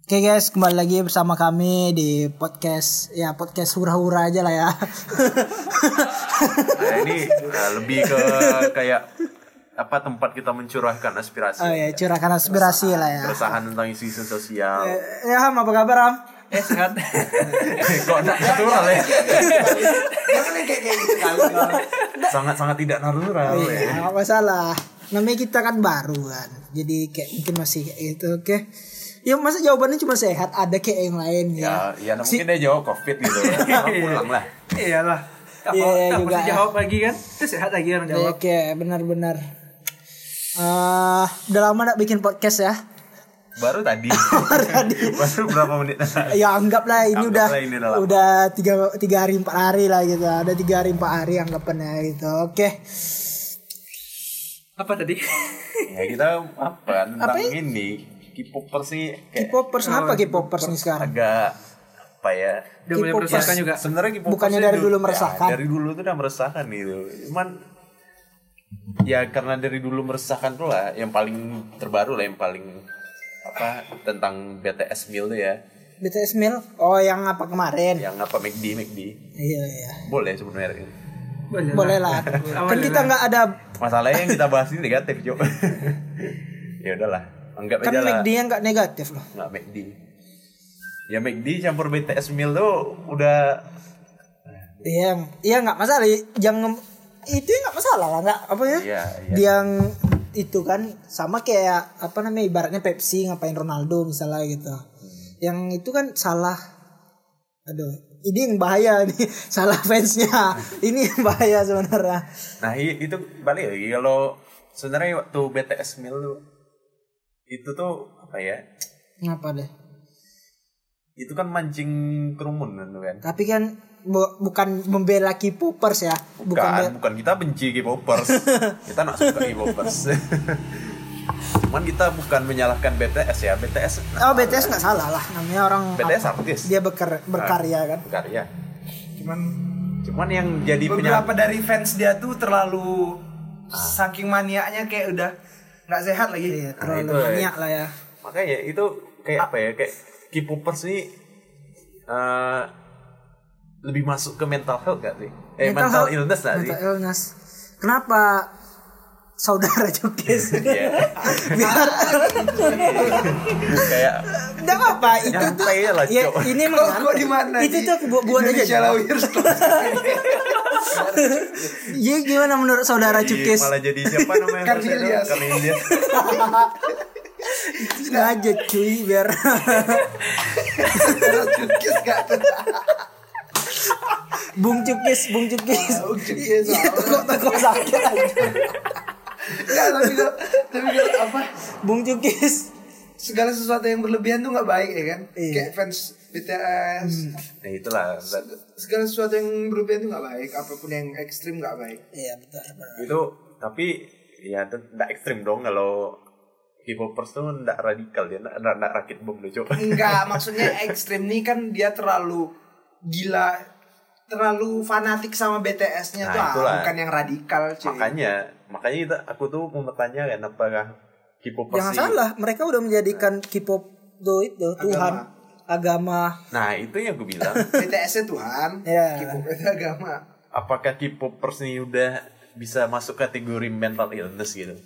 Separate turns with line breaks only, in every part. Oke guys, kembali lagi bersama kami di podcast ya podcast hura-hura aja lah ya.
Nah, ini nah, lebih ke kayak apa tempat kita mencurahkan aspirasi.
oh ya, curahkan aspirasi lah ya.
Keresahan tentang isu-isu sosial.
Eh, Ya, Ham, apa kabar Ham?
Eh sehat.
Kok tidak natural ya?
Jangan yang kayak kayak gitu kali.
Sangat-sangat tidak natural ya.
Iya, nggak masalah. Namanya kita kan baru kan. Jadi kayak mungkin masih kayak gitu, oke. Ya masa jawabannya cuma sehat, ada kayak yang lain
Ya,
ya.
ya nah, mungkin dia jawab covid gitu. ya. Orang pulang lah.
Iyalah. Apa,
Iya,
apa
iya
sih
juga ya. Iya.
jawab lagi kan? Itu sehat lagi
Ya,
orang
iya.
jawab.
Oke, benar-benar. Eh, udah lama gak bikin podcast ya?
Baru tadi. Baru berapa menit?
Ya anggaplah ini
Anggaplah
udah
ini udah lama.
udah tiga tiga hari empat hari lah gitu. Ada tiga hari empat hari anggapannya gitu. Oke.
Apa tadi?
ya kita apa tentang
Apa ya?
ini K-popers sih kayak
K-popers apa K-popers nih sekarang?
agak apa ya?
Udah mulai
K-pop
kan
meresahkan
plus.
juga.
Sebenarnya K-popers
Bukannya
sih
dari
dulu-
dulu
ya,
meresahkan.
dari dulu tuh udah meresahkan gitu. Cuman ya karena dari dulu meresahkan tuh lah yang paling terbaru lah yang paling apa tentang BTS meal tuh ya
BTS Mil. Oh, yang apa kemarin?
yang apa E McD McD
Iya, iya.
boleh sebenarnya
Oh, iya
Boleh.
Boleh lah. kan kita nggak ada
masalahnya yang kita bahas ini negatif cok ya udahlah anggap
kan
aja lah
McD yang nggak negatif loh.
nggak McD ya McD campur BTS meal tuh udah
Iya, yang- iya nggak masalah. Yang itu nggak masalah lah, nggak apa ya?
Iya, iya.
Yang itu kan sama kayak apa namanya ibaratnya Pepsi ngapain Ronaldo misalnya gitu. Yang itu kan salah. Aduh, ini yang bahaya nih, salah fansnya. ini yang bahaya sebenarnya.
Nah i- itu balik lagi kalau sebenarnya waktu BTS meal tuh itu tuh apa ya?
Ngapa deh?
Itu kan mancing kerumun kan, tuh kan?
Tapi kan bu- bukan membela K-popers ya,
Bukan,
bukan
Kan, bukan, kita benci K-popers. kita nak suka K-popers. Cuman kita bukan menyalahkan BTS ya. BTS
Oh BTS nggak salah lah namanya orang
BTS artis. Ah.
dia berker- berkarya kan.
Berkarya.
cuman
ya. Cuman yang jadi
beberapa
penyalahkan
dari fans dia tuh terlalu saking maniaknya kayak udah nggak sehat lagi
Iya terlalu
itu, eh.
banyak lah ya.
makanya itu kayak apa ya? Kayak K-popers ini eh, lebih masuk ke mental health gak sih? Eh mental,
health-
illness gak sih?
Mental illness. Kenapa saudara Jokes?
Iya.
Biar
kayak
enggak apa itu tuh.
Nyantai lah,
Ya,
Cok.
ini
kok
mengantar.
kok di mana
Itu
Di-
tuh aku buat buat aja.
Indonesia Lawyers Club.
Iya gimana menurut saudara
Jadi
Jokes?
Iya, malah jadi siapa
Kan
namanya? Kan
Cornelius.
Cornelius.
Nggak aja cuy biar
Terus cukis nggak pecah.
Bung Cukis, Bung Cukis.
Bung Cukis,
Iya,
apa?
Toko-toko sakit aja.
Nggak, tapi kalau- tapi kalau apa
Bung Cukis.
segala sesuatu yang berlebihan tuh nggak baik ya kan
Iya. Hmm.
kayak fans BTS
Nah itulah.
segala sesuatu yang berlebihan tuh nggak baik apapun yang ekstrim nggak baik
Iya betul. benar.
Itu tapi ya tidak ekstrim dong kalau K-popers tuh tidak radikal ya, tidak tidak rakit bom deh cok.
Iya.
Enggak, maksudnya ekstrim nih kan dia terlalu gila, terlalu fanatik sama BTS-nya
Nah,
tuh, ah,
itulah.
bukan yang radikal cuy.
Makanya, makanya kita, aku tuh mau bertanya kan apakah K-popers
Jangan
ini-
salah, mereka udah menjadikan K-pop itu itu Tuhan, agama.
Nah itu yang aku bilang.
BTS-nya Tuhan,
Iya.
K-pop-nya agama.
apakah K-popers ini udah bisa masuk kategori mental illness gitu?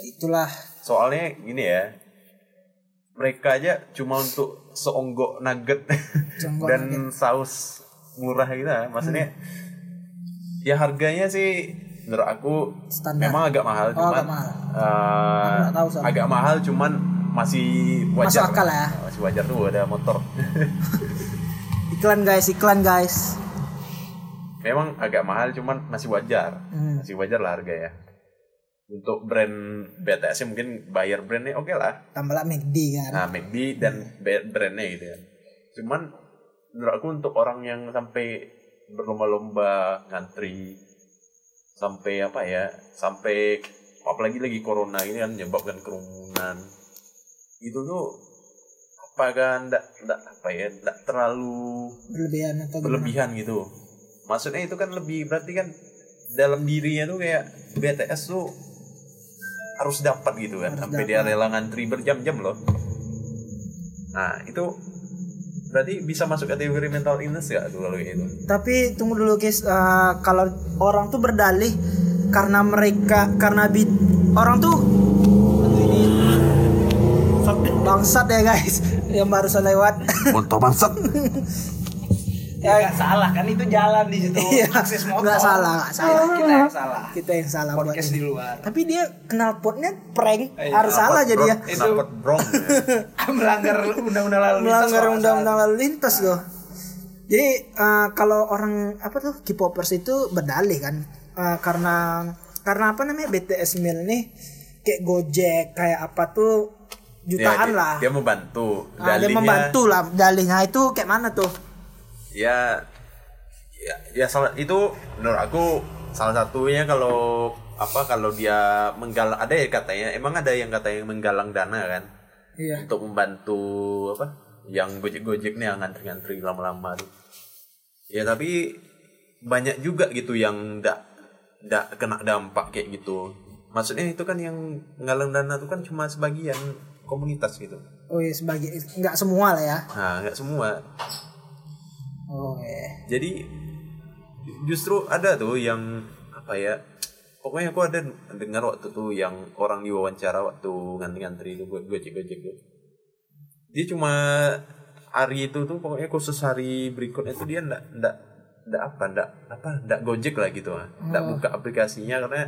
Itulah
Soalnya gini ya, mereka aja cuma untuk seonggok nugget
Seonggok
dan saus murah gitu lah. maksudnya ya harganya sih menurut aku
Standar.
memang agak mahal
Oh,
cuman
agak mahal.
eh,
Aku nggak tahu soalnya.
agak mahal cuman masih wajar
Masuk akal ya.
masih wajar tuh ada motor
iklan guys, iklan guys.
memang agak mahal cuman masih wajar
Hmm.
masih wajar lah harganya untuk brand BTS -nya mungkin bayar brandnya oke lah
Tambah lah McD kan.
Nah, McD dan be- brandnya gitu ya. Cuman menurut aku untuk orang yang sampai berlomba-lomba ngantri sampai apa ya, sampai apalagi lagi corona ini kan menyebabkan kerumunan. Itu tuh apa kan ndak ndak apa ya, ndak terlalu
Berlebihan atau gimana?
berlebihan gitu. Maksudnya itu kan lebih berarti kan dalam dirinya tuh kayak BTS tuh harus dapat gitu kan
Harus
sampai dia rela ngantri berjam-jam loh. Nah, itu berarti bisa masuk kategori mental illness gak tuh gitu? lalu itu?
Tapi tunggu dulu guys, Eh, kalau orang tuh berdalih karena mereka karena bit orang tuh Aduh, ini bangsat ya guys yang barusan lewat.
Motor bangsat.
Ya nggak salah kan itu jalan di situ.
Iya,
Akses motor.
nggak salah, nggak salah.
Kita yang salah.
Kita yang salah buat
Podcast
ini.
di luar.
Tapi dia kenal potnya prank
Eh,
harus salah jadi ya.
Itu brong.
Melanggar undang-undang lalu lintas.
melanggar
kalau nggak
undang-undang lalu lintas loh. Jadi eh, kalau orang apa tuh K-popers itu berdalih kan Eh, karena karena apa namanya BTS Mil nih kayak Gojek kayak apa tuh
Ya, Dia,
jutaan
dia,
lah.
dia membantu.
Ah, dia
Dalihnya-
membantu lah dalihnya itu kayak mana tuh?
ya ya, ya salah itu menurut aku salah satunya kalau apa kalau dia menggalang ada ya katanya emang ada yang katanya menggalang dana kan
Iya.
untuk membantu apa yang gojek gojek nih yang ngantri ngantri lama-lama tuh ya tapi banyak juga gitu yang ndak ndak kena dampak kayak gitu maksudnya itu kan yang menggalang dana tuh kan cuma sebagian komunitas gitu
Oh iya sebagai nggak semua lah ya.
nah nggak semua
Oh iya.
jadi justru ada tuh yang apa ya pokoknya aku ada dengar waktu tuh yang orang diwawancara waktu ngantri-ngantri itu gue gojek gojek tuh dia cuma hari itu tuh pokoknya khusus hari berikutnya tuh dia ndak ndak ndak apa ndak apa ndak gojek lah gitu ah
Oh.
ndak buka aplikasinya karena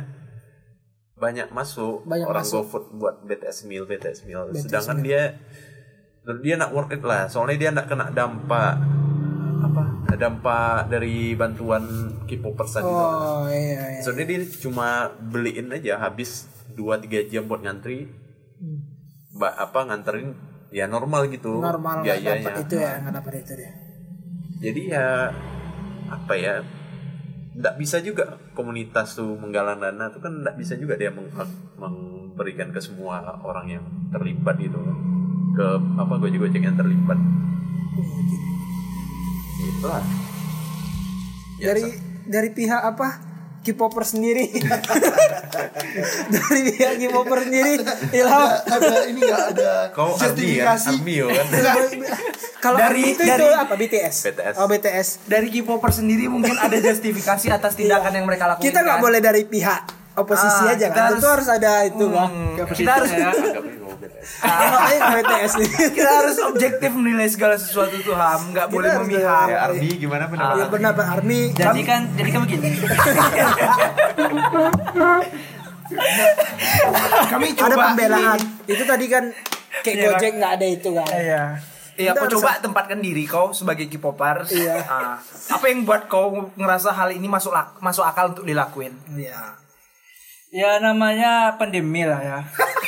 banyak masuk
Banyak
orang
masuk.
GoFood buat BTS meal BTS meal
BTS
sedangkan dia dia nak worth it lah soalnya dia nak kena dampak apa dampak dari bantuan K-popers tadi tuh.
Oh iya. iya.
Soalnya dia cuma beliin aja habis 2-3 jam buat ngantri.
Hmm.
Ba- apa nganterin ya normal gitu
Normal nggak
biayanya.
dapat itu ya nggak dapat itu dia.
Jadi ya apa ya nggak bisa juga komunitas tuh menggalang dana tuh kan nggak bisa juga dia meng- memberikan ke semua orang yang terlibat gitu ke apa gojek-gojek yang terlibat itulah Ya,
dari dari pihak apa K-popper sendiri dari pihak K-popper sendiri Ilham
Ada ini nggak ada
Kau Army kan?
justifikasi.
Army yo kan?
kalau dari
Dari-
itu,
dari-
itu apa BTS
BTS.
oh BTS
dari K-popper sendiri mungkin ada justifikasi atas tindakan yang mereka lakukan. Kan?
kita nggak boleh dari pihak oposisi
Ah,
aja
kita
kan
harus-
itu harus ada itu kan
Hmm,
Nggak
kita harus
Anggapnya kau BTS.
makanya BTS nih
kita harus objektif menilai segala sesuatu tuh ham, nggak
Kita
boleh
harus-
memihak.
Ya, Army gimana
ya
pendapat?
benar Pak Army
Jadi kan jadi kan begini.
Kami coba
ada pembelaan itu tadi kan kayak
Iya.
Gojek nggak ada itu kan
Iya. Iya,
Kita
kau
harus-
coba tempatkan diri kau sebagai K-popers.
Iya.
Ah, apa yang buat kau ngerasa hal ini masuk lak- masuk akal untuk dilakuin? Iya.
Ya namanya pandemi lah ya.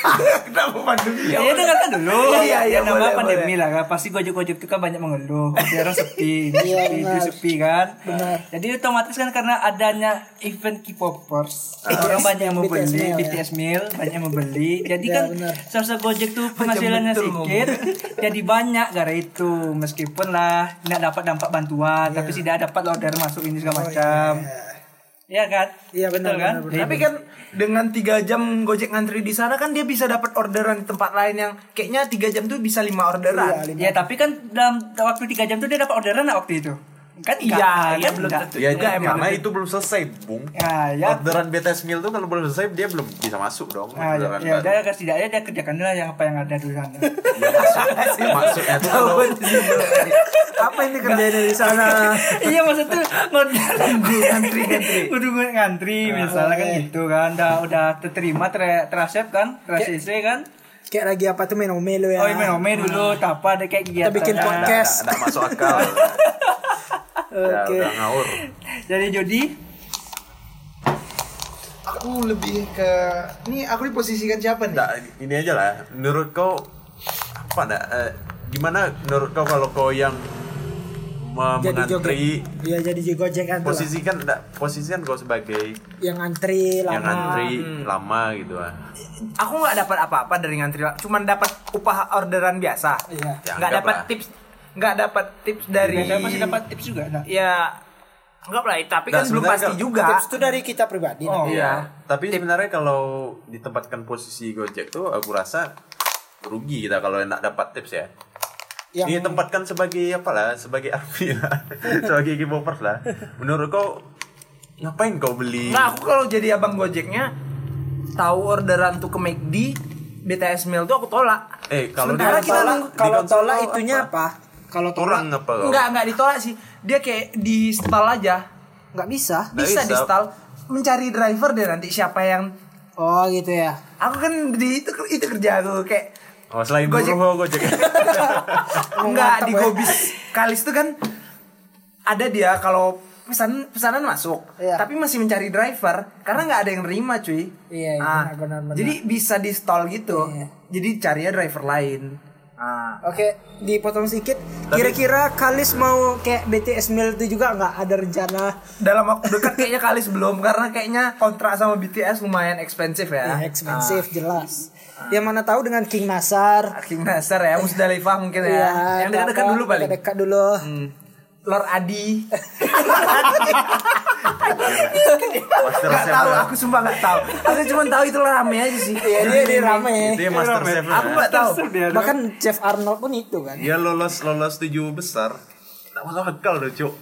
Kenapa pandemi?
Ya, dengarkan dulu.
Iya, iya,
Ya, nama
boleh,
pandemi lah kan. Pasti gojek-gojek itu kan banyak mengeluh. Daerah sepi, ini
Iya,
sepi, itu
benar.
sepi kan.
Benar.
Jadi otomatis kan karena adanya event K-popers,
Ah,
orang banyak yang membeli
BTS meal, ya.
BTS meal, banyak yang membeli. Jadi
Ya,
kan
benar.
seharusnya gojek tuh penghasilannya
betul,
sedikit, jadi banyak gara itu. Meskipun lah nggak dapat dampak bantuan, tapi
Iya.
sih tidak dapat order masuk ini segala macam. Iya kan?
Oh, Iya, benar,
Betul kan?
benar,
Jadi
Tapi kan dengan tiga jam gojek ngantri di sana kan dia bisa dapat orderan di tempat lain yang kayaknya tiga jam tuh bisa lima orderan.
Ya tapi kan dalam waktu 3 jam tuh dia dapat orderan nggak waktu itu? Kan
Iya,
iya, kan
belum
belum
tentu.
Ya,
Enggak, emang.
karena itu belum selesai, Bung.
Ya, ya.
Orderan BTS meal tuh kalau belum selesai dia belum bisa masuk dong.
Ah, iya,
Nah, ya,
orderan
ya
baru.
udah kan setidaknya dia kerjakan dulu lah yang apa yang ada di sana.
Ya, maksud- maksudnya tuh kalau
apa yang dikerjain
Nah.
dari
Ah.
sana
iya maksud tuh ngantri ngantri ngantri ngantri
Ah.
misalnya
Eh.
kan gitu kan udah udah terterima ter terasep kan terasep kan
kayak lagi apa tuh menomelo ya
oh iya ome dulu
Hmm.
tapa ada kayak
kita
kegiatan
bikin podcast
enggak masuk akal. Ya,
Oke.
udah ngawur.
jadi jadi
Aku lebih ke ini aku diposisikan siapa nih?
Enggak, ini aja lah. Menurut kau apa enggak eh, gimana menurut kau kalau kau yang me-
jadi joget
mengantri
ya jadi gojek kan tuh lah.
posisikan enggak posisikan kan kau sebagai
yang antri lama
yang ngantri lama gitu ah.
Aku nggak dapat apa-apa dari ngantri, cuman dapat upah orderan biasa.
Iya.
Ya,
Nggak
anggap
dapat
lah.
tips, nggak dapat tips dari.
saya masih dapat tips juga nah.
Ya, enggak lah.
Nah,
Tapi kan belum
sebenarnya
pasti
kalau-
juga.
tips itu dari kita pribadi
Oh.
Iya.
Tapi sebenarnya kalau ditempatkan posisi Gojek tuh aku rasa rugi kita kalau enak dapat tips ya.
Yang-
ditempatkan sebagai apalah sebagai army lah sebagai kibopers lah menurut kau ngapain kau beli
Nah aku kalau jadi abang gojeknya tahu orderan tuh ke McD BTS meal tuh aku tolak.
eh kalau
Sementara
dia
kita
tolak,
nunggu-
di
Kalau
konsol
tolak itunya apa? Kalau tolak
kurang apa kau
Enggak enggak ditolak sih. Dia kayak di stall aja.
nggak bisa.
Nggak
Bisa,
bisa.
di stall mencari driver deh nanti siapa yang
Oh gitu ya.
aku kan di itu itu kerja aku kayak
oh, selain
Gojek.
buruh kau gojek
enggak
mantap
di
ya.
Gobis Kalis tuh kan ada dia kalau pesan pesanan masuk
Iya.
tapi masih mencari driver karena nggak ada yang nerima cuy
Iya, iya,
Ah,
benar, benar, benar.
jadi bisa di stall gitu
Iya.
jadi carinya driver lain ah
Oke, dipotong sedikit. Kira-kira Kalis mau kayak BTS meal itu juga nggak ada rencana?
dalam waktu dekat kayaknya Kalis belum karena kayaknya kontrak sama BTS lumayan ekspensif ya
Ya, expensive jelas. Yang mana tahu dengan King Nasar.
Ah, King Nasar ya Musdalifah mungkin ya,
Iya,
yang
atau
dekat-dekat
apa,
dulu paling
Dekat-dekat dulu.
Lord Adi
master
nggak
chef
tahu
lah.
aku sumpah nggak tahu aku cuma tahu itu rame aja sih
Iya, dia dia rame.
dia master chef lah.
aku nggak tahu
Bahkan Chef Arnold pun itu kan.
dia lolos lolos tujuh besar tak masuk akal loh cuk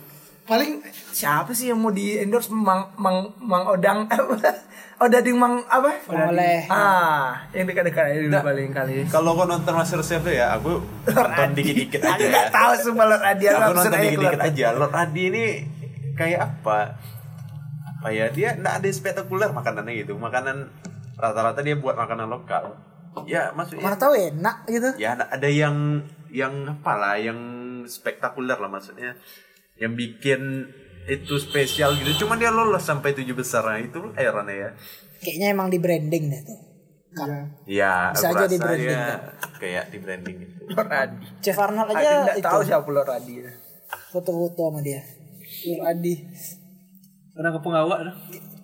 paling siapa sih yang mau di endorse mang mang mang odang odading mang apa
Oleh.
ah yang dekat-dekat aja dulu paling kali
kalau kau nonton master chef tuh ya aku nonton dikit dikit
aku
aja ya.
nggak tahu sumpah Lord Adi aku
aku
absurd
nonton
Ya, aja
dikit-dikit
keluar.
aja Lord Adi ini kayak apa apa ya dia nggak ada spektakuler makanannya gitu makanan rata-rata dia buat makanan lokal ya
Mana
maksudnya
tahu enak gitu.
ya nggak ada yang yang apa lah yang spektakuler lah maksudnya yang bikin itu spesial gitu cuman dia lolos sampai tujuh besar nah, itu herannya ya
Kayaknya emang di branding deh tuh. Kan.
ya
Bisa
aku
aja
rasa
di-branding,
dia
kan?
kayak di branding gitu
Lord Adi
Chef Arnold
aku
aja
nggak
Nah, itu
tahu siapa Lord Adi
foto-foto sama dia. Nur Adi.
Orang kepengawak dah.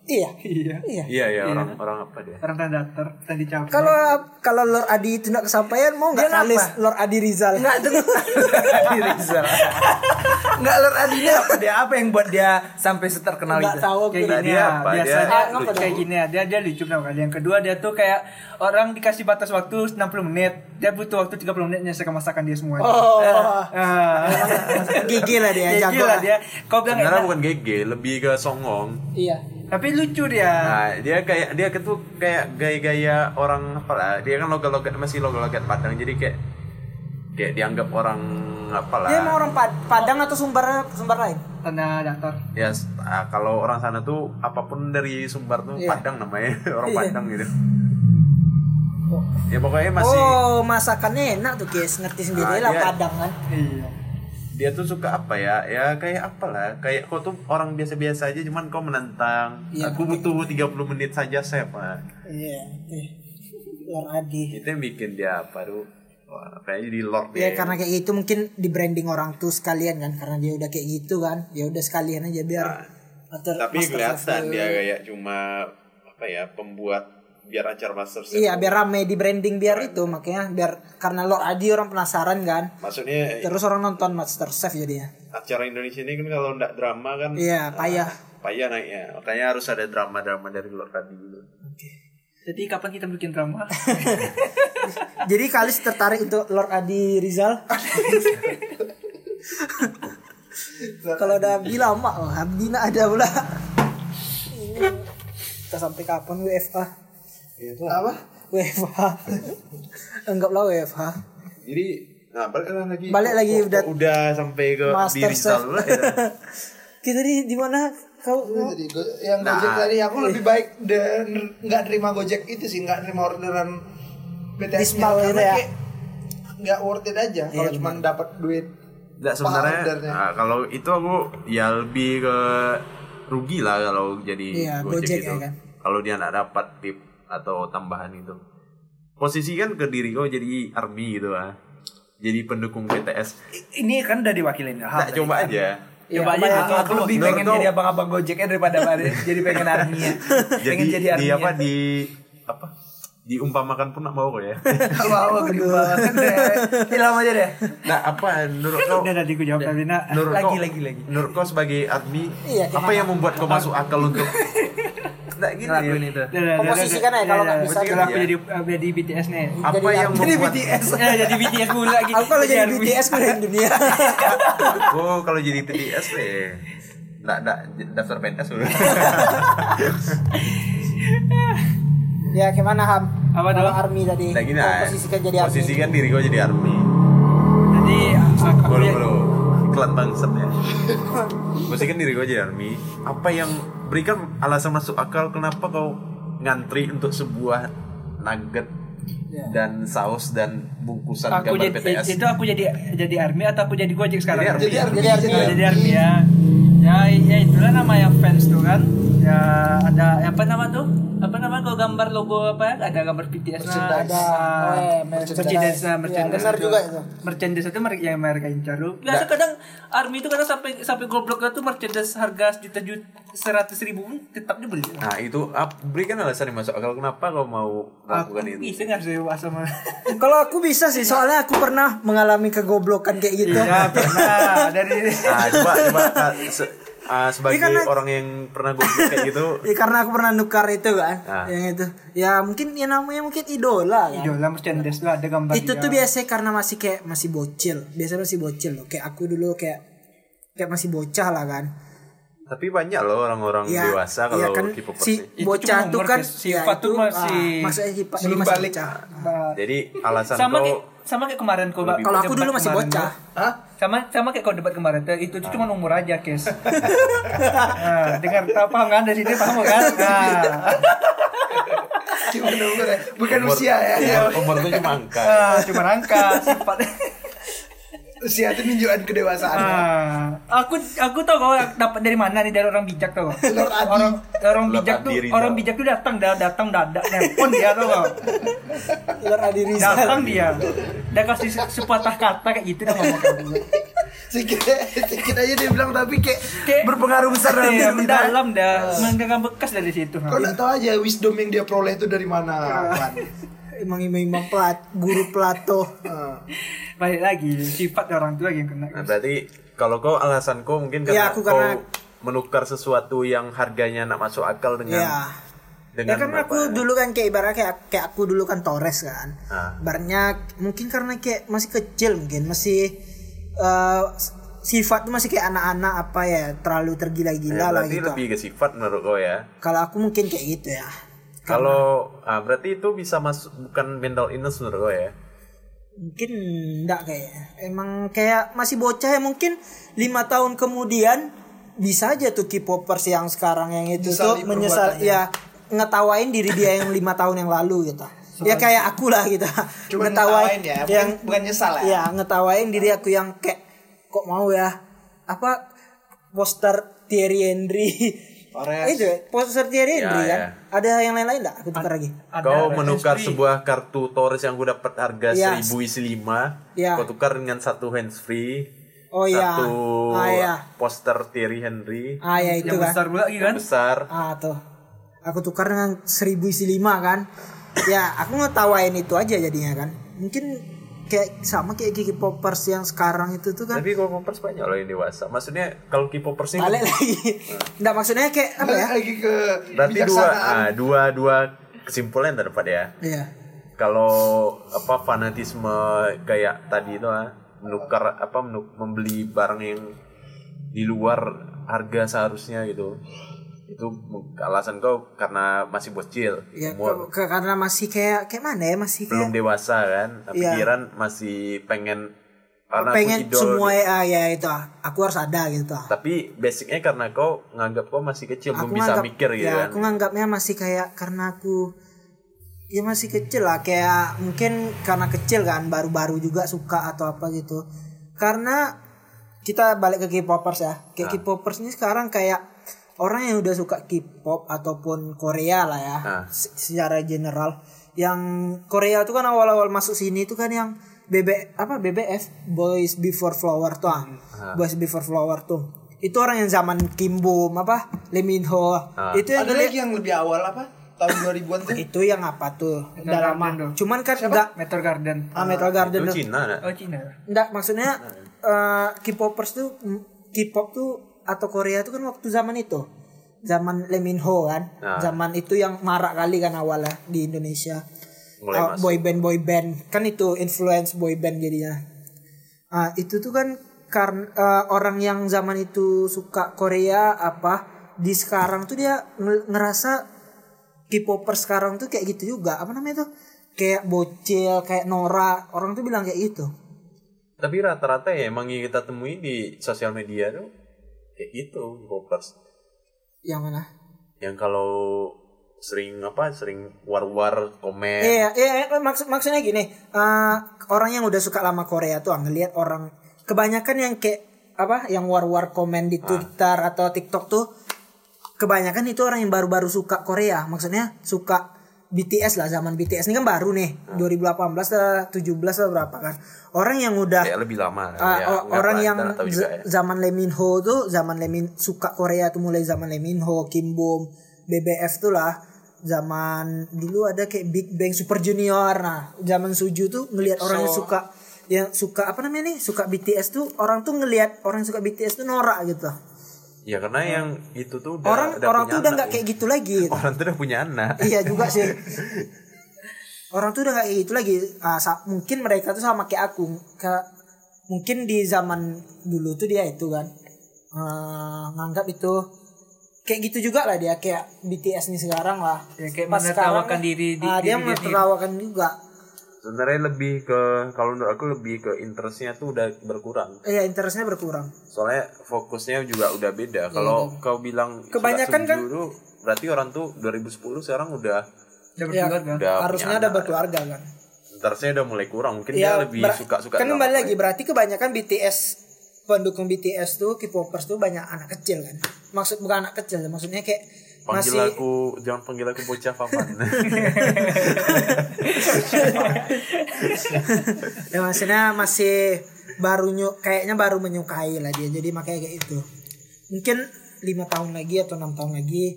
Iya.
Iya.
Iya.
iya ya orang orang apa dia
Orang tanda daftar, tanda dicabut.
Kalau kalau Lord Adi itu nggak kesampaian mau nggak
Dia ngapa?
Kalis Lord Adi Rizal?
nggak tuh Adi Rizal nggak Lord Adinya apa dia apa yang buat dia sampai seterkenal
Nggak
itu
tahu aku.
kayak
Nah,
gini
dia
ya,
apa?
biasanya
Dia
tuh
lucu.
kayak gini ya dia dia lucu pertama kali yang kedua dia tuh kayak orang dikasih batas waktu 60 menit dia butuh waktu 30 menit menyelesaikan masakan dia semua
Oh,
Ah.
gigi lah dia,
Ya,
jago lah.
gila dia kau bilang
sebenarnya
enak,
bukan GG lebih ke songong
Iya.
tapi lucu dia
Nah, dia kayak dia tuh kayak gaya-gaya orang apa lah, Dia kan logat-logat masih logat-logat Padang. Jadi kayak kayak dianggap orang apalah.
Dia emang orang Pad- Padang atau sumber sumber lain?
tanda daftar
Ya s- ah, kalau orang sana tuh apapun dari Sumbar tuh
Iya.
Padang namanya, orang
Iya.
Padang gitu. Ya pokoknya masih
Oh, masakannya enak tuh, guys. Ngerti sendiri
Ah,
lah
dia-
Padang kan.
iya
dia tuh suka apa ya? Ya kayak apalah, kayak kau tuh orang biasa-biasa aja cuman kau menantang.
Iya.
Aku butuh 30 menit saja saya, Pak.
Iya. iya. Lord Adi.
Itu yang bikin dia apa tuh? Wah, kayaknya di Lord
Ya
deh.
karena kayak gitu mungkin di branding orang tuh sekalian kan karena dia udah kayak gitu kan. Ya udah sekalian aja biar atau
tapi
Master
kelihatan
Chef
dia
dulu.
kayak cuma apa ya pembuat biar acara ya. master Chef.
Iya, biar rame di branding biar itu makanya biar karena Lord Adi orang penasaran kan.
maksudnya
Terus orang nonton Master Chef jadinya.
acara Indonesia ini kan kalau ndak drama kan
Iya, payah.
payah naiknya makanya harus ada drama drama dari luar tadi dulu
jadi kapan kita bikin drama
Jadi Kalis tertarik untuk Lord Adi Rizal. Kalau udah bilang mak, oh, Abdi nak ada pula. Ini kita sampai kapan WFA? Apa? WFA. Anggaplah WFA.
jadi nah balik lagi
Balik lagi
Kok- kok
udah-
udah sampai ke di
Master
Rizal
Chef.
lah ya.
Kita di di mana kau?
Jadi go- yang gojek
Nah.
tadi aku lebih baik de- ner- nggak terima gojek itu sih nggak terima orderan BTS
Dismal
karena
gitu ya. Iya,
kayak nggak worth it aja kalau cuma dapat duit
Nggak
per
sebenarnya
ordernya.
nah, kalau itu aku ya lebih ke rugi lah kalau jadi
Iya,
Gojek
Gojek
gitu.
ya kan.
Kalau dia nggak dapat tip atau tambahan itu. Posisi kan ke diri kau jadi army gitu lah. Jadi pendukung PTS.
ini kan udah diwakilin
Ah,
Ilham
Tak
tadi.
coba aja.
Ya,
Coba aja gitu. Aku lebih
Iya, Menurut
pengen
kau-
jadi abang-abang gojeknya daripada jadi pengen arminya.
Jadi,
pengen jadi
di
arminya.
ya?
apa di apa? Diumpamakan pun nak mau kau ya.
Wow, gede banget deh. Ilham aja deh.
nah, apa menurut kau?
udah tadi gue jawab tapi nak
Menurut
Lagi,
kau,
lagi, lagi.
Menurut kau sebagai army,
Iya,
apa yang membuat kau masuk akal untuk
nggak gitu ngelakuin itu.
Komposisikan aja kalau nggak bisa.
Kalau aku
Iya.
jadi eh, jadi BTS nih.
Apa
Jadi
yang
apa?
membuat
Eh, jadi BTS pula gitu.
Aku kalau jadi
Jangan-
BTS keren dunia.
aku kalau jadi BTS deh nggak nggak daftar pentas dulu
ya gimana Ham?
Apa
Kalau
dong?
Army tadi.
nah gini lah
Komposisikan jadi Army.
kan-
posisikan diri gue jadi army
Jadi aku- aku
bolu
ya-
bolu iklan bangsat ya posisikan diri gue jadi army apa yang berikan alasan masuk akal kenapa kau ngantri untuk sebuah nugget
Ya.
dan saus dan bungkusan
aku
gambar
jadi
PTS
itu aku jadi jadi army atau aku jadi gojek sekarang
Jadi army.
Jadi Army.
jadi army, jadi army ya ya ya itulah namanya fans tuh kan ya ada apa nama tuh apa nama kalau gambar logo apa ya ada gambar BTS nah
Merchandise. Oh, iya, merchandise.
merchandise nah,
Iya,
merchandise
benar juga itu.
merchandise itu mereka yang mereka incar nggak kadang army itu kadang sampai sampai gobloknya tuh merchandise harga juta juta seratus ribu pun tetap dibeli
nah itu ap- berikan alasan yang masuk akal kenapa kau mau
aku
melakukan itu
bisa nggak sih Wak, sama
Kalau aku bisa sih, soalnya aku pernah mengalami kegoblokan kayak gitu.
ya pernah dari
Nah, coba coba Kak, se- ah, sebagai
Ini karena-
orang yang pernah goblok kayak gitu,
Ya karena aku pernah nukar itu kan,
Ah.
yang itu. Ya mungkin ya namanya mungkin idola. kan.
idola iya. merchandise tuh ada gambar
itu
dia.
tuh biasanya karena masih kayak masih bocil biasanya masih bocil loh kayak aku dulu kayak kayak masih bocah lah kan
tapi banyak loh orang-orang dewasa
ya
kalau
kan
K-popers
si
nih.
Itu
bocah
cuma
tuh
umur,
kan
guys. Sifat tuh masih-
ah, maksudnya sifat
Belum
ini masih
balik.
bocah
Nah,
Jadi alasan
sama
kau
kayak sama kayak kemarin kok Mbak.
kalau aku
Debat
dulu masih
kemarin,
bocah
Mbak. sama sama kayak kau debat kemarin tuh, itu tuh cuma umur aja kes nah, dengar tak paham kan dari sini paham kan nah,
Gimana umur ya? Bukan usia ya.
umur, iya, umur tuh cuma angka.
nah, cuma angka sifat
Usia itu tunjukan kedewasaan.
Ah.
ya.
nah, aku aku tau kau dapat dari mana nih dari orang bijak tuh
Lord Adi.
orang orang
Lord
bijak tuh
Adi Rizal.
orang bijak tuh datang da- datang dadak nelpon dia tuh kau
luar Adi Rizal
datang dia dia kasih se- sepatah kata kayak gitu dia ngomong kayak gitu.
Sikit, sikit aja dia bilang tapi kayak
Kayak-
berpengaruh besar dalam
Iya,
diri kita.
mendalam dah menggenggam bekas dari situ
Kau nggak tahu aja wisdom yang dia peroleh itu dari mana. Wan.
emang imam imam pelat guru pelato
Eh,
balik lagi sifat orang tua yang kena
Nah, berarti kalau kau alasan kau
Ya,
mungkin karena
aku
kau
karena-
menukar sesuatu yang harganya nak masuk akal dengan
ya
dengan
Ya kan
berapa-
aku dulu kan kayak ibaratnya kayak kayak aku dulu kan Torres kan.
Ah.
Ibaratnya mungkin karena kayak masih kecil mungkin masih eh, s- sifat tuh masih kayak anak-anak apa ya terlalu tergila-gila
Ya,
lah
berarti
gitu.
lebih ke sifat menurut kau ya.
Kalau aku mungkin kayak gitu ya.
Kalau ah, berarti itu bisa masuk bukan mental illness menurut kau ya.
Mungkin enggak kayaknya. Emang kayak masih bocah ya mungkin lima tahun kemudian bisa aja tuh K-popers yang sekarang yang itu
Menyesali
tuh menyesal
perbuatannya.
ya ngetawain diri dia yang lima tahun yang lalu gitu. Ya kayak aku lah gitu.
Cuma ngetawain ya, bukan- bukan nyesal ya.
Iya, ngetawain diri aku yang kayak kok mau ya apa poster Thierry Henry
Torres.
itu ya, poster Thierry
Ya,
Henry kan
ya.
ada yang lain-lain enggak aku tukar lagi
Kau menukar sebuah kartu Torres yang gue dapat harga
Iya.
seribu isi lima,
Iya.
kau tukar dengan satu hands free,
oh iya
satu
ah iya
poster Thierry Henry
ah iya itu
yang
kan
besar pula lagi kan
besar.
ah tuh aku tukar dengan seribu isi lima kan ya aku ngetawain itu aja jadinya kan mungkin kayak sama kayak Kiki Popers yang sekarang itu tuh kan
Tapi kalau popers banyak loh yang dewasa. Maksudnya kalau K-popers ini
balik lagi nggak maksudnya kayak apa ya
Balik lagi ke
berarti dua,
kebijaksanaan.
ah, dua dua kesimpulan yang terdapat ya.
iya
Kalau apa fanatisme kayak tadi itu ah, menukar apa menu- membeli barang yang di luar harga seharusnya gitu itu alasan kau karena masih bocil
ya
umur
ke- ke- karena masih kayak kayak mana ya masih kayak
belum dewasa kan tapi
Iya.
pikiran masih pengen karena aku
pengen
idol gitu.
semua ya, ya itu ah. aku harus ada gitu ah.
tapi basicnya karena kau nganggap kau masih kecil belum bisa
nganggap-
mikir gitu
ya,
kan
aku nganggapnya masih kayak karena aku ya masih kecil lah kayak mungkin karena kecil kan baru-baru juga suka atau apa gitu karena kita balik ke K-popers ya kayak
Ah.
K-popers ini sekarang kayak orang yang udah suka K-pop ataupun Korea lah ya
Ah.
se- secara general yang Korea tuh kan awal-awal masuk sini tuh kan yang BB apa BBF Boys Before Flower tuh ah. Boys Before Flower tuh itu orang yang zaman Kim Bom apa Lee Min Ho
Ah.
itu yang
Ada
dulu-
lagi yang lebih awal apa? Tahun 2000-an tuh.
itu yang apa tuh udah lama
Garden tuh.
cuman kan enggak
meter garden
ah, Metal Garden
itu
tuh
Cina nak.
oh Cina
enggak maksudnya eh
Nah.
K-popers tuh mm, K-pop tuh atau Korea tuh kan waktu zaman itu zaman Leminho kan.
Nah.
Zaman itu yang marak kali kan awalnya di Indonesia.
Mulai
Ah,
masuk.
boy band boy band kan itu influence boy band jadinya. Ah, itu tuh kan karena orang yang zaman itu suka Korea apa di sekarang tuh dia nge- ngerasa K-popper sekarang tuh kayak gitu juga apa namanya tuh kayak bocil kayak Nora orang tuh bilang kayak gitu
Tapi rata-rata ya emang yang kita temui di sosial media tuh kayak gitu, popers.
yang mana
Yang kalau sering apa sering war-war komen
Iya, iya, iya, maksud maksudnya gini, eh, orang yang udah suka lama Korea tuh ah, ngelihat orang kebanyakan yang kayak apa, yang war-war komen di Twitter atau TikTok tuh kebanyakan itu orang yang baru-baru suka Korea, maksudnya suka BTS lah zaman BTS ini kan baru nih 2018 lah 17 lah berapa kan orang yang udah
kayak lebih lama
Ah,
ya,
o-
nggak
orang
tahu,
yang
kita nggak tahu juga
z-
ya.
zaman Leminho tuh zaman Lemin suka Korea tuh mulai zaman Leminho, Kim Bom, BBF tuh lah zaman dulu ada kayak Big Bang Super Junior nah zaman Suju tuh ngelihat orang yang suka yang suka apa namanya nih suka BTS tuh orang tuh ngelihat orang yang suka BTS tuh norak gitu
ya karena yang itu tuh udah,
Hmm. orang orang
punya
tuh udah
anak
nggak
ya.
kayak gitu lagi gitu.
orang tuh udah punya anak
iya juga sih orang tuh udah gak kayak gitu lagi Ah, sa- mungkin mereka tuh sama kayak aku Ke- mungkin di zaman dulu tuh dia itu kan eh, nganggap itu kayak gitu juga lah dia kayak BTS nih sekarang lah
Ya, kayak
sekarang
menertawakan
nih,
diri- di-
ah, dia
diri dia sendiri.
menertawakan juga
sebenarnya lebih ke kalau menurut aku lebih ke interestnya tuh udah berkurang
iya interestnya berkurang
soalnya fokusnya juga udah beda kalau kau bilang suka
Iya. Kebanyakan kan-
senju tuh, berarti orang tuh 2010 sekarang udah
Udah berkeluarga.
udah
harusnya
punya
udah
anak.
berkeluarga kan
interestnya udah mulai kurang mungkin dia lebih
Iya, ber-
suka suka
kan kembali lagi
ya?
berarti kebanyakan BTS pendukung BTS tuh K-popers tuh banyak anak kecil kan maksud bukan anak kecil ya, maksudnya kayak
panggil
masih
aku jangan panggil aku bocah paman
ya maksudnya masih baru nyu kayaknya baru menyukai lah dia jadi makanya kayak itu mungkin lima tahun lagi atau enam tahun lagi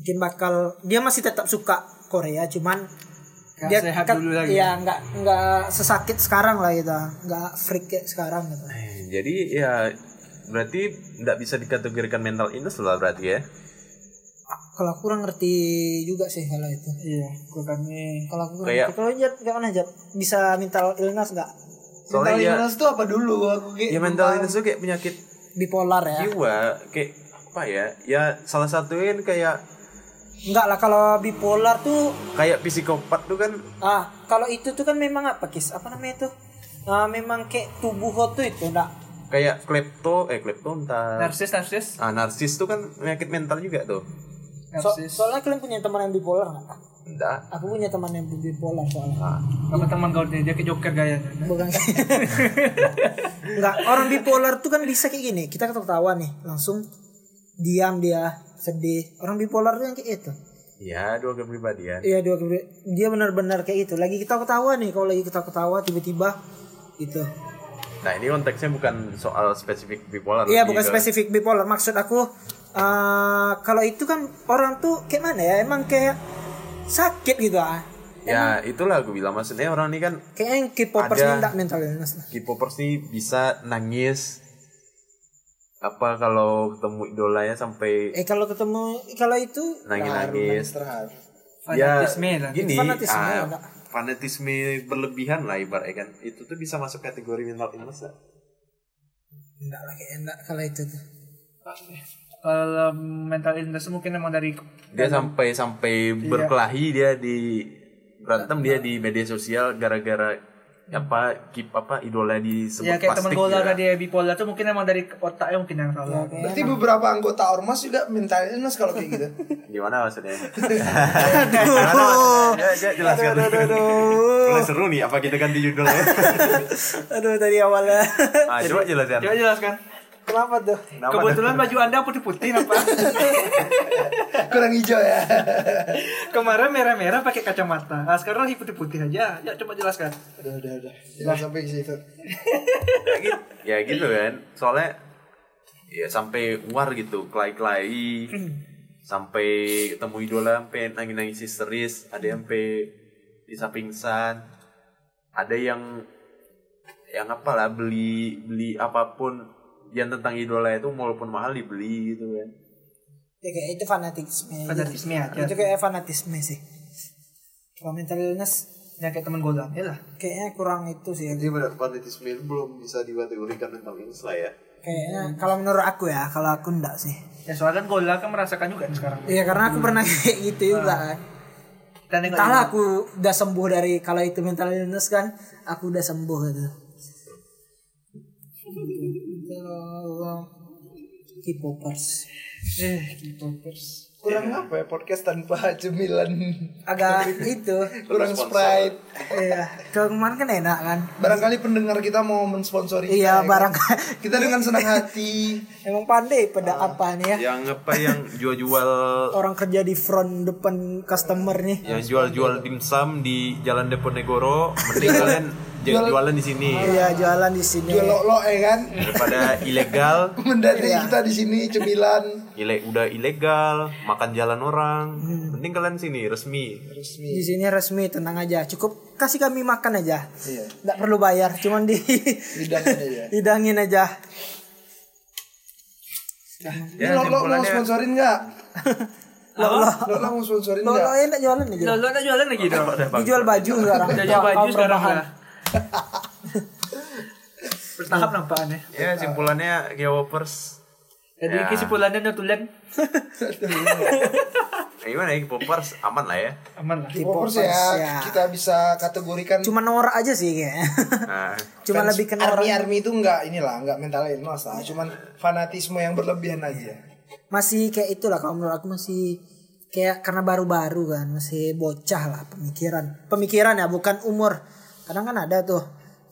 mungkin bakal dia masih tetap suka Korea cuman
Nggak sehat
ket-
dulu lagi.
ya nggak nggak sesakit sekarang lah gitu nggak freak kayak sekarang gitu
jadi ya berarti nggak bisa dikategorikan mental illness lah berarti ya
kalau aku kurang ngerti juga sih kalau itu
Iya, gua
Eh.
kami
kalau aku kurang
Kayak-
ngerti. kalau Jad kayak mana Jad bisa mental illness nggak
soalnya ya,
Illness tuh apa dulu aku kayak
ya mental illness tuh kayak penyakit
bipolar ya
jiwa kayak apa ya ya salah satuin kayak
nggak lah kalau bipolar tuh
kayak psikopat tuh kan
Ah, kalau itu tuh kan memang apa kis? Apa namanya tuh? Ah, memang kayak tubuh hot tuh itu enggak.
kayak klepto eh klepto entar
narsis narsis
ah narsis tuh kan penyakit mental juga tuh
So,
narsis.
soalnya kalian punya teman yang bipolar enggak?
enggak
Aku punya teman yang bipolar soalnya.
ah.
Apa teman kau dia dia ke joker gayanya.
Bukan. enggak, orang bipolar tuh kan bisa kayak gini. Kita ketawa nih, langsung diam dia sedih. Orang bipolar tuh yang kayak itu.
ya dua kepribadian
Iya, dua kebri- dia benar-benar kayak itu. Lagi kita ketawa nih, kalau lagi kita ketawa tiba-tiba gitu.
nah ini konteksnya bukan soal spesifik bipolar
Iya
lebih
bukan
kan?
ke-
spesifik bipolar maksud aku eh, kalau itu kan orang tuh kayak mana ya emang kayak sakit gitu ah
ya itulah aku bilang maksudnya orang ini kan
kayaknya yang K-popers
Ada.
ini enggak mental illness lah.
K-popers nih bisa nangis apa kalau ketemu idolanya sampai
eh kalau ketemu kalau itu
"Ah,
nangis-nangis
terhadap
Fanatisme
ya,
lah.
Gini,
Fanatisme,
ah,
enggak.
fanatisme berlebihan lah ibaratnya kan. Itu tuh bisa masuk kategori mental illness lah.
enggak lah kayak enggak kalau itu tuh
Kalau mental illness mungkin emang dari
Dia sampai sampai
Iya.
berkelahi dia di berantem dia di media sosial gara-gara apa keep apa idola di gitu.
ya kayak teman gola tadi ya, bipolar tuh mungkin emang dari otaknya mungkin yang salah.
Berarti beberapa anggota ormas juga mental illness kalau kayak gitu.
Gimana maksudnya? Gimana
Oh.
maksudnya? Ya, ya, jelaskan. Mulai seru nih apa kita ganti judulnya?
aduh dari awalnya
ah, coba jelaskan.
Coba jelaskan.
kenapa tuh
Kenapa
Kebetulan baju Anda putih-putih apa?
Kurang hijau ya.
Kemarin merah-merah pakai kacamata. Nah, sekarang lagi putih-putih aja. Ya coba jelaskan.
Udah udah udah.
Nah.
Jangan sampai ke situ.
ya gitu, ya gitu kan soalnya ya sampai war gitu kelai-kelai sampai ketemu idola sampai nangis-nangis histeris ada yang sampai bisa pingsan ada yang yang apalah beli beli apapun yang tentang idola itu walaupun mahal dibeli gitu kan
ya kayak itu fanatisme aja.
Fanatisme aja.
itu kayak fanatisme sih kalau mental illness
ya kayak teman gue ya lah
kayaknya kurang itu sih
Jadi benar fanatisme ini belum bisa dikategorikan tentang insla ya.
kayaknya kalau menurut aku ya kalau aku enggak sih
ya soalnya kan Gola kan merasakan juga nih sekarang
Iya karena aku pernah kayak
Nah.
gitu juga kan.
dan nengok
Entahlah
juga.
aku udah sembuh dari kalau itu mental illness kan, aku udah sembuh gitu. K-popers
eh K-popers
kurang
Iya.
apa ya podcast tanpa cemilan
agak itu
kurang sprite
iya kalau kemarin kan enak kan
barangkali pendengar kita mau mensponsori kita,
iya
ya kan?
barang
kita dengan senang hati
emang pandai pada
Ah.
apa nih ya
Yang apa yang jual-jual
orang kerja di front depan customer nih
yang jual-jual dimsum di Jalan Deponegoro mending kalian jangan jualan di sini
iya jualan di sini
jual lo lo ya kan
daripada ilegal
mendati
Iya.
kita di sini cemilan
ile udah ilegal makan jalan orang mending kalian sini resmi
di sini resmi tenang aja cukup kasih kami makan aja
Iya.
nggak perlu bayar cuman di
bidang ya.
Ya,
aja
hidangin aja
ini lo lo mau sponsorin nggak lo lo lo mau sponsorin
lo lo
nggak
enak jualan aja
lo lo ada jualan lagi dong
dijual baju sekarang
jual baju
Kaum
sekarang
rebahan.
lah bertahap nampaknya
ya simpulannya K-popers Ya.
jadi kesimpulannya udah tulen
eh, gimana ya K-popers aman lah ya
aman lah
K-popers,
K-popers
ya.
ya kita bisa kategorikan
cuma norak aja sih kayaknya
nah
cuma lebih ke
army
norak
army itu nggak inilah nggak mental illness lah cuman fanatisme yang berlebihan aja
masih kayak itulah kalau menurut aku masih kayak karena baru-baru kan masih bocah lah pemikiran pemikiran ya bukan umur kadang kan ada tuh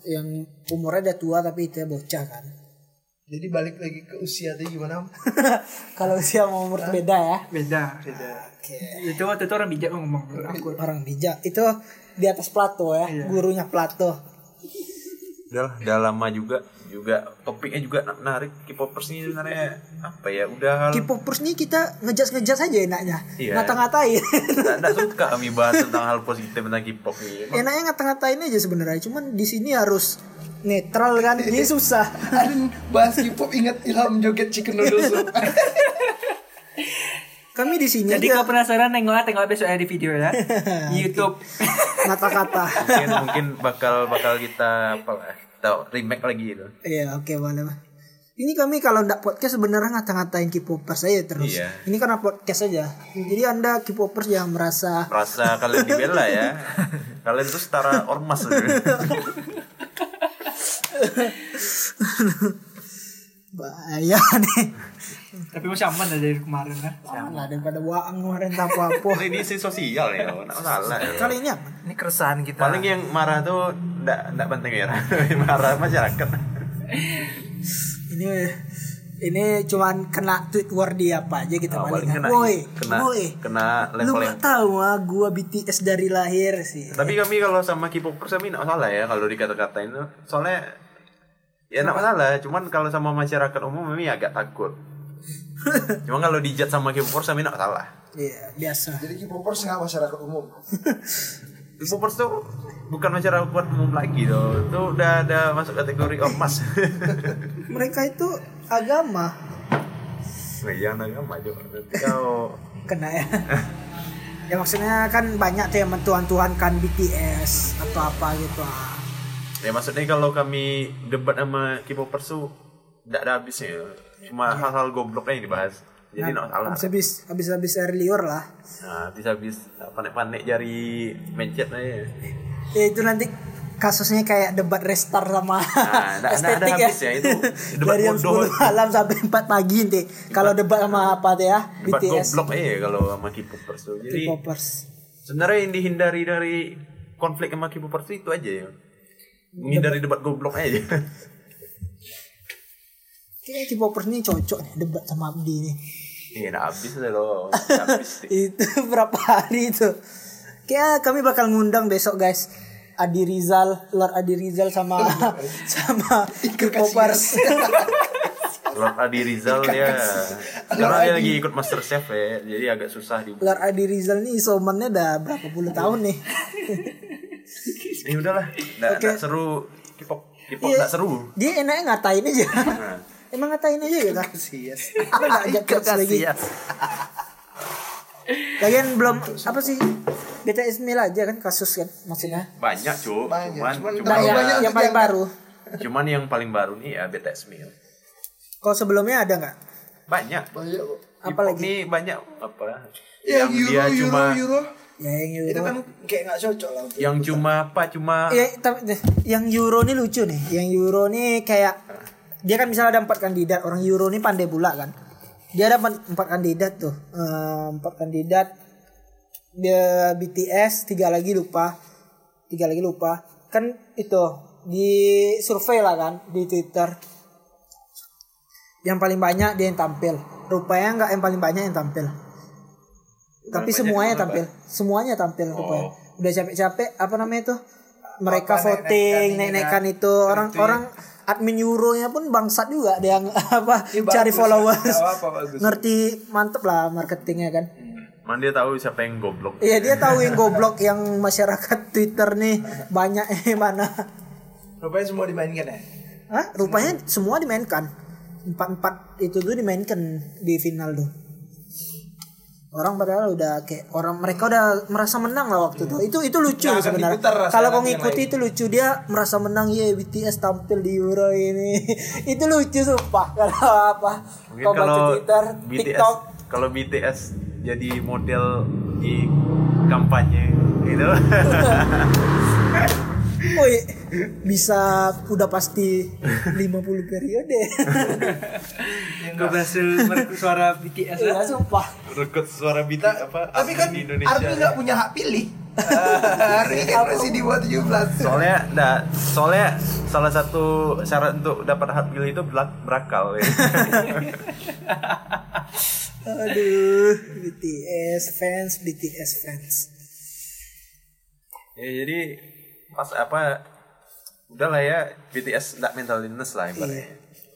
yang umurnya udah tua tapi itu ya bocah kan
jadi balik lagi ke usia tuh gimana
kalau usia sama umur tuh beda ya
beda itu waktu itu orang bijak ngomong aku
orang bijak itu di atas Plato ya
Iya.
gurunya Plato
udah lah, udah lama juga juga topiknya juga menarik K-popers ini sebenarnya apa ya udah
K-popers nih kita ngejas ngejas aja enaknya
Iya.
ngata-ngatain
tidak suka kami bahas tentang hal positif tentang K-pop ini Emang
enaknya ngata-ngatain aja sebenarnya cuman di sini harus netral kan ini susah
ada bahas K-pop ingat Ilham joget chicken noodle soup
kami di sini
jadi
aja
kalau penasaran nengok tengok besok ada di video ya di YouTube
ngata-kata
mungkin mungkin bakal bakal kita apa lah kita remake lagi itu
iya oke boleh Pak. ini kami kalau ndak podcast sebenarnya ngata-ngatain K-popers aja terus
Iya.
ini karena podcast aja jadi anda K-popers yang merasa
merasa kalian dibela ya kalian tuh setara ormas gitu.
bahaya nih
tapi masih aman aja dari kemarin lah
aman lah daripada waang kemarin tak apa-apa
Ini sih sosial ya, nggak masalah. ya.
kali ini aman
Ini keresahan kita.
Paling yang marah tuh ndak ndak penting ya, marah masyarakat.
ini ini cuman kena tweet war di apa aja kita
Oh,
paling
paling kena,
woi
kena,
woi
kena
lu
level yang.
gak tahu ya. ah gua BTS dari lahir sih
Tapi kami kalau sama K-popers kami nggak masalah ya kalau dikata-katain tuh, soalnya ya nggak masalah. Cuman kalau sama masyarakat umum kami agak takut. Cuma kalau dijat sama K-popers kami nggak masalah.
iya biasa
jadi K-popers nggak masyarakat umum
K-popers tuh bukan masyarakat umum lagi tuh, itu udah ada masuk kategori ormas.
mereka itu agama
Nah, jangan agama juga. Nanti kau
kena ya ya maksudnya kan banyak tuh yang mentuhan-tuhankan BTS atau apa gitu ah.
Ya maksudnya kalau kami debat sama K-popers tuh tidak ada habisnya. Cuma hal-hal goblok aja yang dibahas. Jadi nggak salah.
Iya. Nah, habis habis habis habis earlier lah
Nah, habis-habis panik-panik jari mencet aja.
ya itu nanti kasusnya kayak debat restart sama
Nah, nggak- nggak ada
estetik ya
habisnya, itu debat
dari jam
bodoh.
10 malam sampai 4 pagi nanti kalau debat sama apa tuh ya
Debat
BTS
goblok aja kalau sama K-popers tuh. Jadi
K-popers
sebenarnya yang dihindari dari konflik sama K-popers tuh itu aja ya. Menghindari debat goblok aja.
kayaknya K-popers ini cocok nih debat sama Abdi nih
Iya, nggak habis deh loh. Nggak habis. deh.
itu berapa hari itu kayak kami bakal ngundang besok guys Adi Rizal Lord Adi Rizal sama sama K-popers
Lord Adi Rizal ya. Sekarang dia lagi ikut Master Chef ya. Jadi agak susah di
Lord Adi Rizal nih isomannya udah berapa puluh tahun nih
Ya udahlah, nggak
Oke.
nggak seru K-pop, K-pop
Iya.
nggak seru.
dia enaknya ngatain aja
Nah,
emang ngatain aja gitu
sih yes.
Emang nggak ajak jokes lagi
Iya.
Kasihan.
lagian belum apa sih BTS Mil aja kan kasus kan maksudnya
Banyak, Cuk.
Banyak,
Cuman,
cuman
cuman,
nah,
Terlalu
yang,
banyak
yang
untuk
paling
diangkat.
baru
cuman yang paling baru nih ya BTS Meal.
kalau sebelumnya ada nggak
Banyak.
banyak kok
Apalagi
Apalagi?
nih banyak apa?
ya
yang
euro
dia
euro
cuma
euro
ya yang Euro
itu kan kayak nggak cocok lah untuk-
yang cuma apa? Cuma
Iya.
ya, tapi- yang Euro nih lucu nih yang Euro nih kayak dia kan misalnya ada empat kandidat orang Euro nih pandai pula kan dia ada empat empat kandidat tuh Eh, empat kandidat dia BTS tiga lagi lupa tiga lagi lupa kan itu di survei lah kan di Twitter yang paling banyak dia yang tampil rupanya nggak yang paling banyak yang tampil tapi
banyak
semuanya
kenapa?
tampil semuanya tampil rupanya
Oh.
udah capek-capek apa namanya itu mereka
Apa,
voting
naik-naikan
naik-naikan itu orang orang admin Euronya pun bangsat juga dia yang apa
Ini
cari
bagus,
followers
nggak apa-apa, bagus.
ngerti mantep lah marketingnya kan
cuman dia tahu siapa yang goblok.
iya dia tahu yang goblok yang masyarakat Twitter nih banyak eh mana
rupanya semua dimainkan ya
Hah? rupanya semua dimainkan empat empat itu tuh dimainkan di final tuh orang padahal udah kayak orang mereka udah merasa menang lah waktu itu itu itu lucu
Iya. Nggak akan
sebenarnya
diputar rasanya
kalau kau
nanti yang
ngikuti itu lucu dia merasa menang ya BTS tampil di Euro ini itu lucu sumpah kalau apa
Mungkin
kau baca
kalau
Twitter
BTS
TikTok
kalau BTS jadi model di kampanye gitu.
woi bisa udah pasti 50 periode
Gue berhasil merekut suara BTS lah.
ya sumpah
Rekut suara BTS apa?
tapi kan
admin
Ardi
ya?
nggak punya hak pilih Ardi kan masih di bawah 17
soalnya nah, soalnya salah satu syarat untuk dapat hak pilih itu belak- berakal ya.
Aduh, BTS fans, BTS fans.
Ya, jadi pas apa udahlah ya BTS nggak mental illness lah
Iya,
ibaratnya.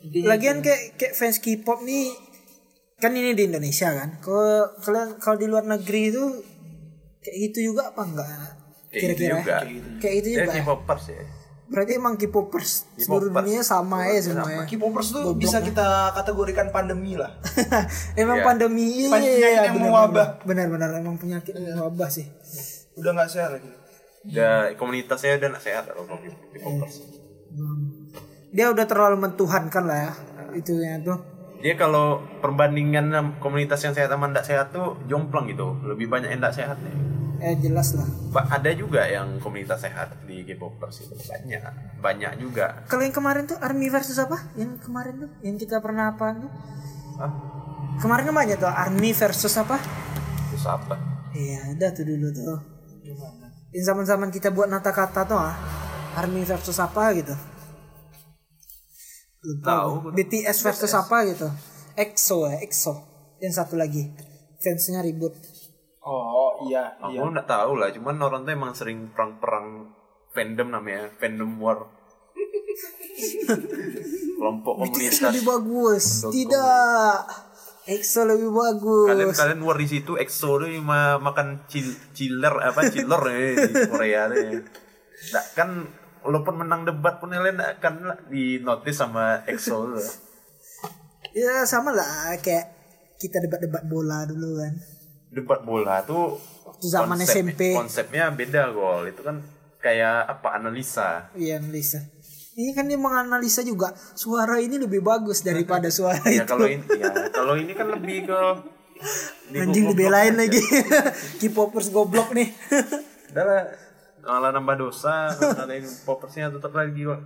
Iya,
Lagian kayak kayak fans K-pop nih kan ini di Indonesia kan. Kalau kalau kalau di luar negeri itu kayak gitu juga apa enggak?
Kayak
Kira-kira
gitu juga.
Kayak gitu
Dia
juga.
K-popers ya.
Berarti emang K-popers seluruh
K-popers.
dunia sama ya semuanya.
K-popers tuh
Goblok lah.
bisa kita kategorikan pandemi lah
emang
Iya.
pandemi iya,
Penyakit
iya, iya, benar,
yang mewabah.
benar. Benar-benar emang penyakit yang mewabah sih.
udah nggak sehat lagi
Udah komunitasnya udah nggak sehat kalau
Iya.
K-popers.
Dia udah terlalu mentuhankan lah ya. Itunya tuh.
Dia kalau perbandingan sama komunitas yang sehat sama nggak sehat tuh jomplang gitu. Lebih banyak yang nggak sehat nih.
Eh jelas lah.
Ba- Ada juga yang komunitas sehat di K-popers itu banyak, banyak juga.
Kalau yang kemarin tuh Army versus apa? Yang kemarin tuh yang kita pernah apa tuh?
Ah,
Kemarin namanya tuh Army versus apa?
itu apa?
Iya, ada tuh dulu tuh. Yang zaman-zaman kita buat nata kata tuh ah. Army versus apa gitu. Lupa.
Tahu.
gua. BTS versus apa gitu. EXO ya, EXO. Yang satu lagi. Fansnya ribut.
oh iya
Aku nggak tahu lah, cuman orang tuh emang sering perang-perang fandom namanya, fandom war. Kelompok
BTS
komunitas.
lebih bagus. Tidak. EXO lebih
Kalian
bagus.
kalian war di situ, EXO tuh cuma makan cil- chiller apa chiller ya, di Korea tuh. Nah, kan walaupun menang debat pun kalian nggak akan di notice sama EXO tuh.
Ya sama lah kayak kita debat-debat bola dulu kan.
Debat bola tuh
Waktu zaman SMP.
Konsepnya beda gol. Itu kan kayak apa analisa.
Iya analisa. Ini kan dia menganalisa juga suara ini lebih bagus daripada suara
Ya
itu.
kalau ini ya, kalau ini kan lebih ke
Anjing dibelain lagi. K-popers goblok nih.
Udah malah nambah dosa kalau ada yang popersnya tetap lagi kok.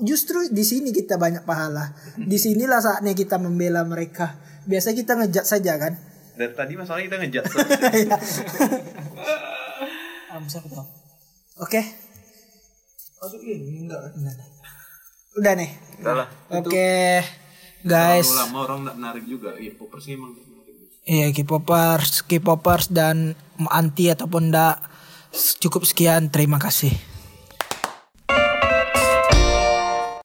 Justru di sini kita banyak pahala. Di sinilah saatnya kita membela mereka. Biasa kita ngejat saja kan.
Dari tadi masalahnya kita ngejat
Iya. Amsa betul. Oke.
masuk iya, ini enggak
Udah nih.
Udah lah.
Oke. Guys.
Terlalu lama orang nggak menarik juga. Iya, popersnya emang nggak menarik.
Iya K-popers, K-popers dan anti ataupun ndak cukup sekian terima kasih.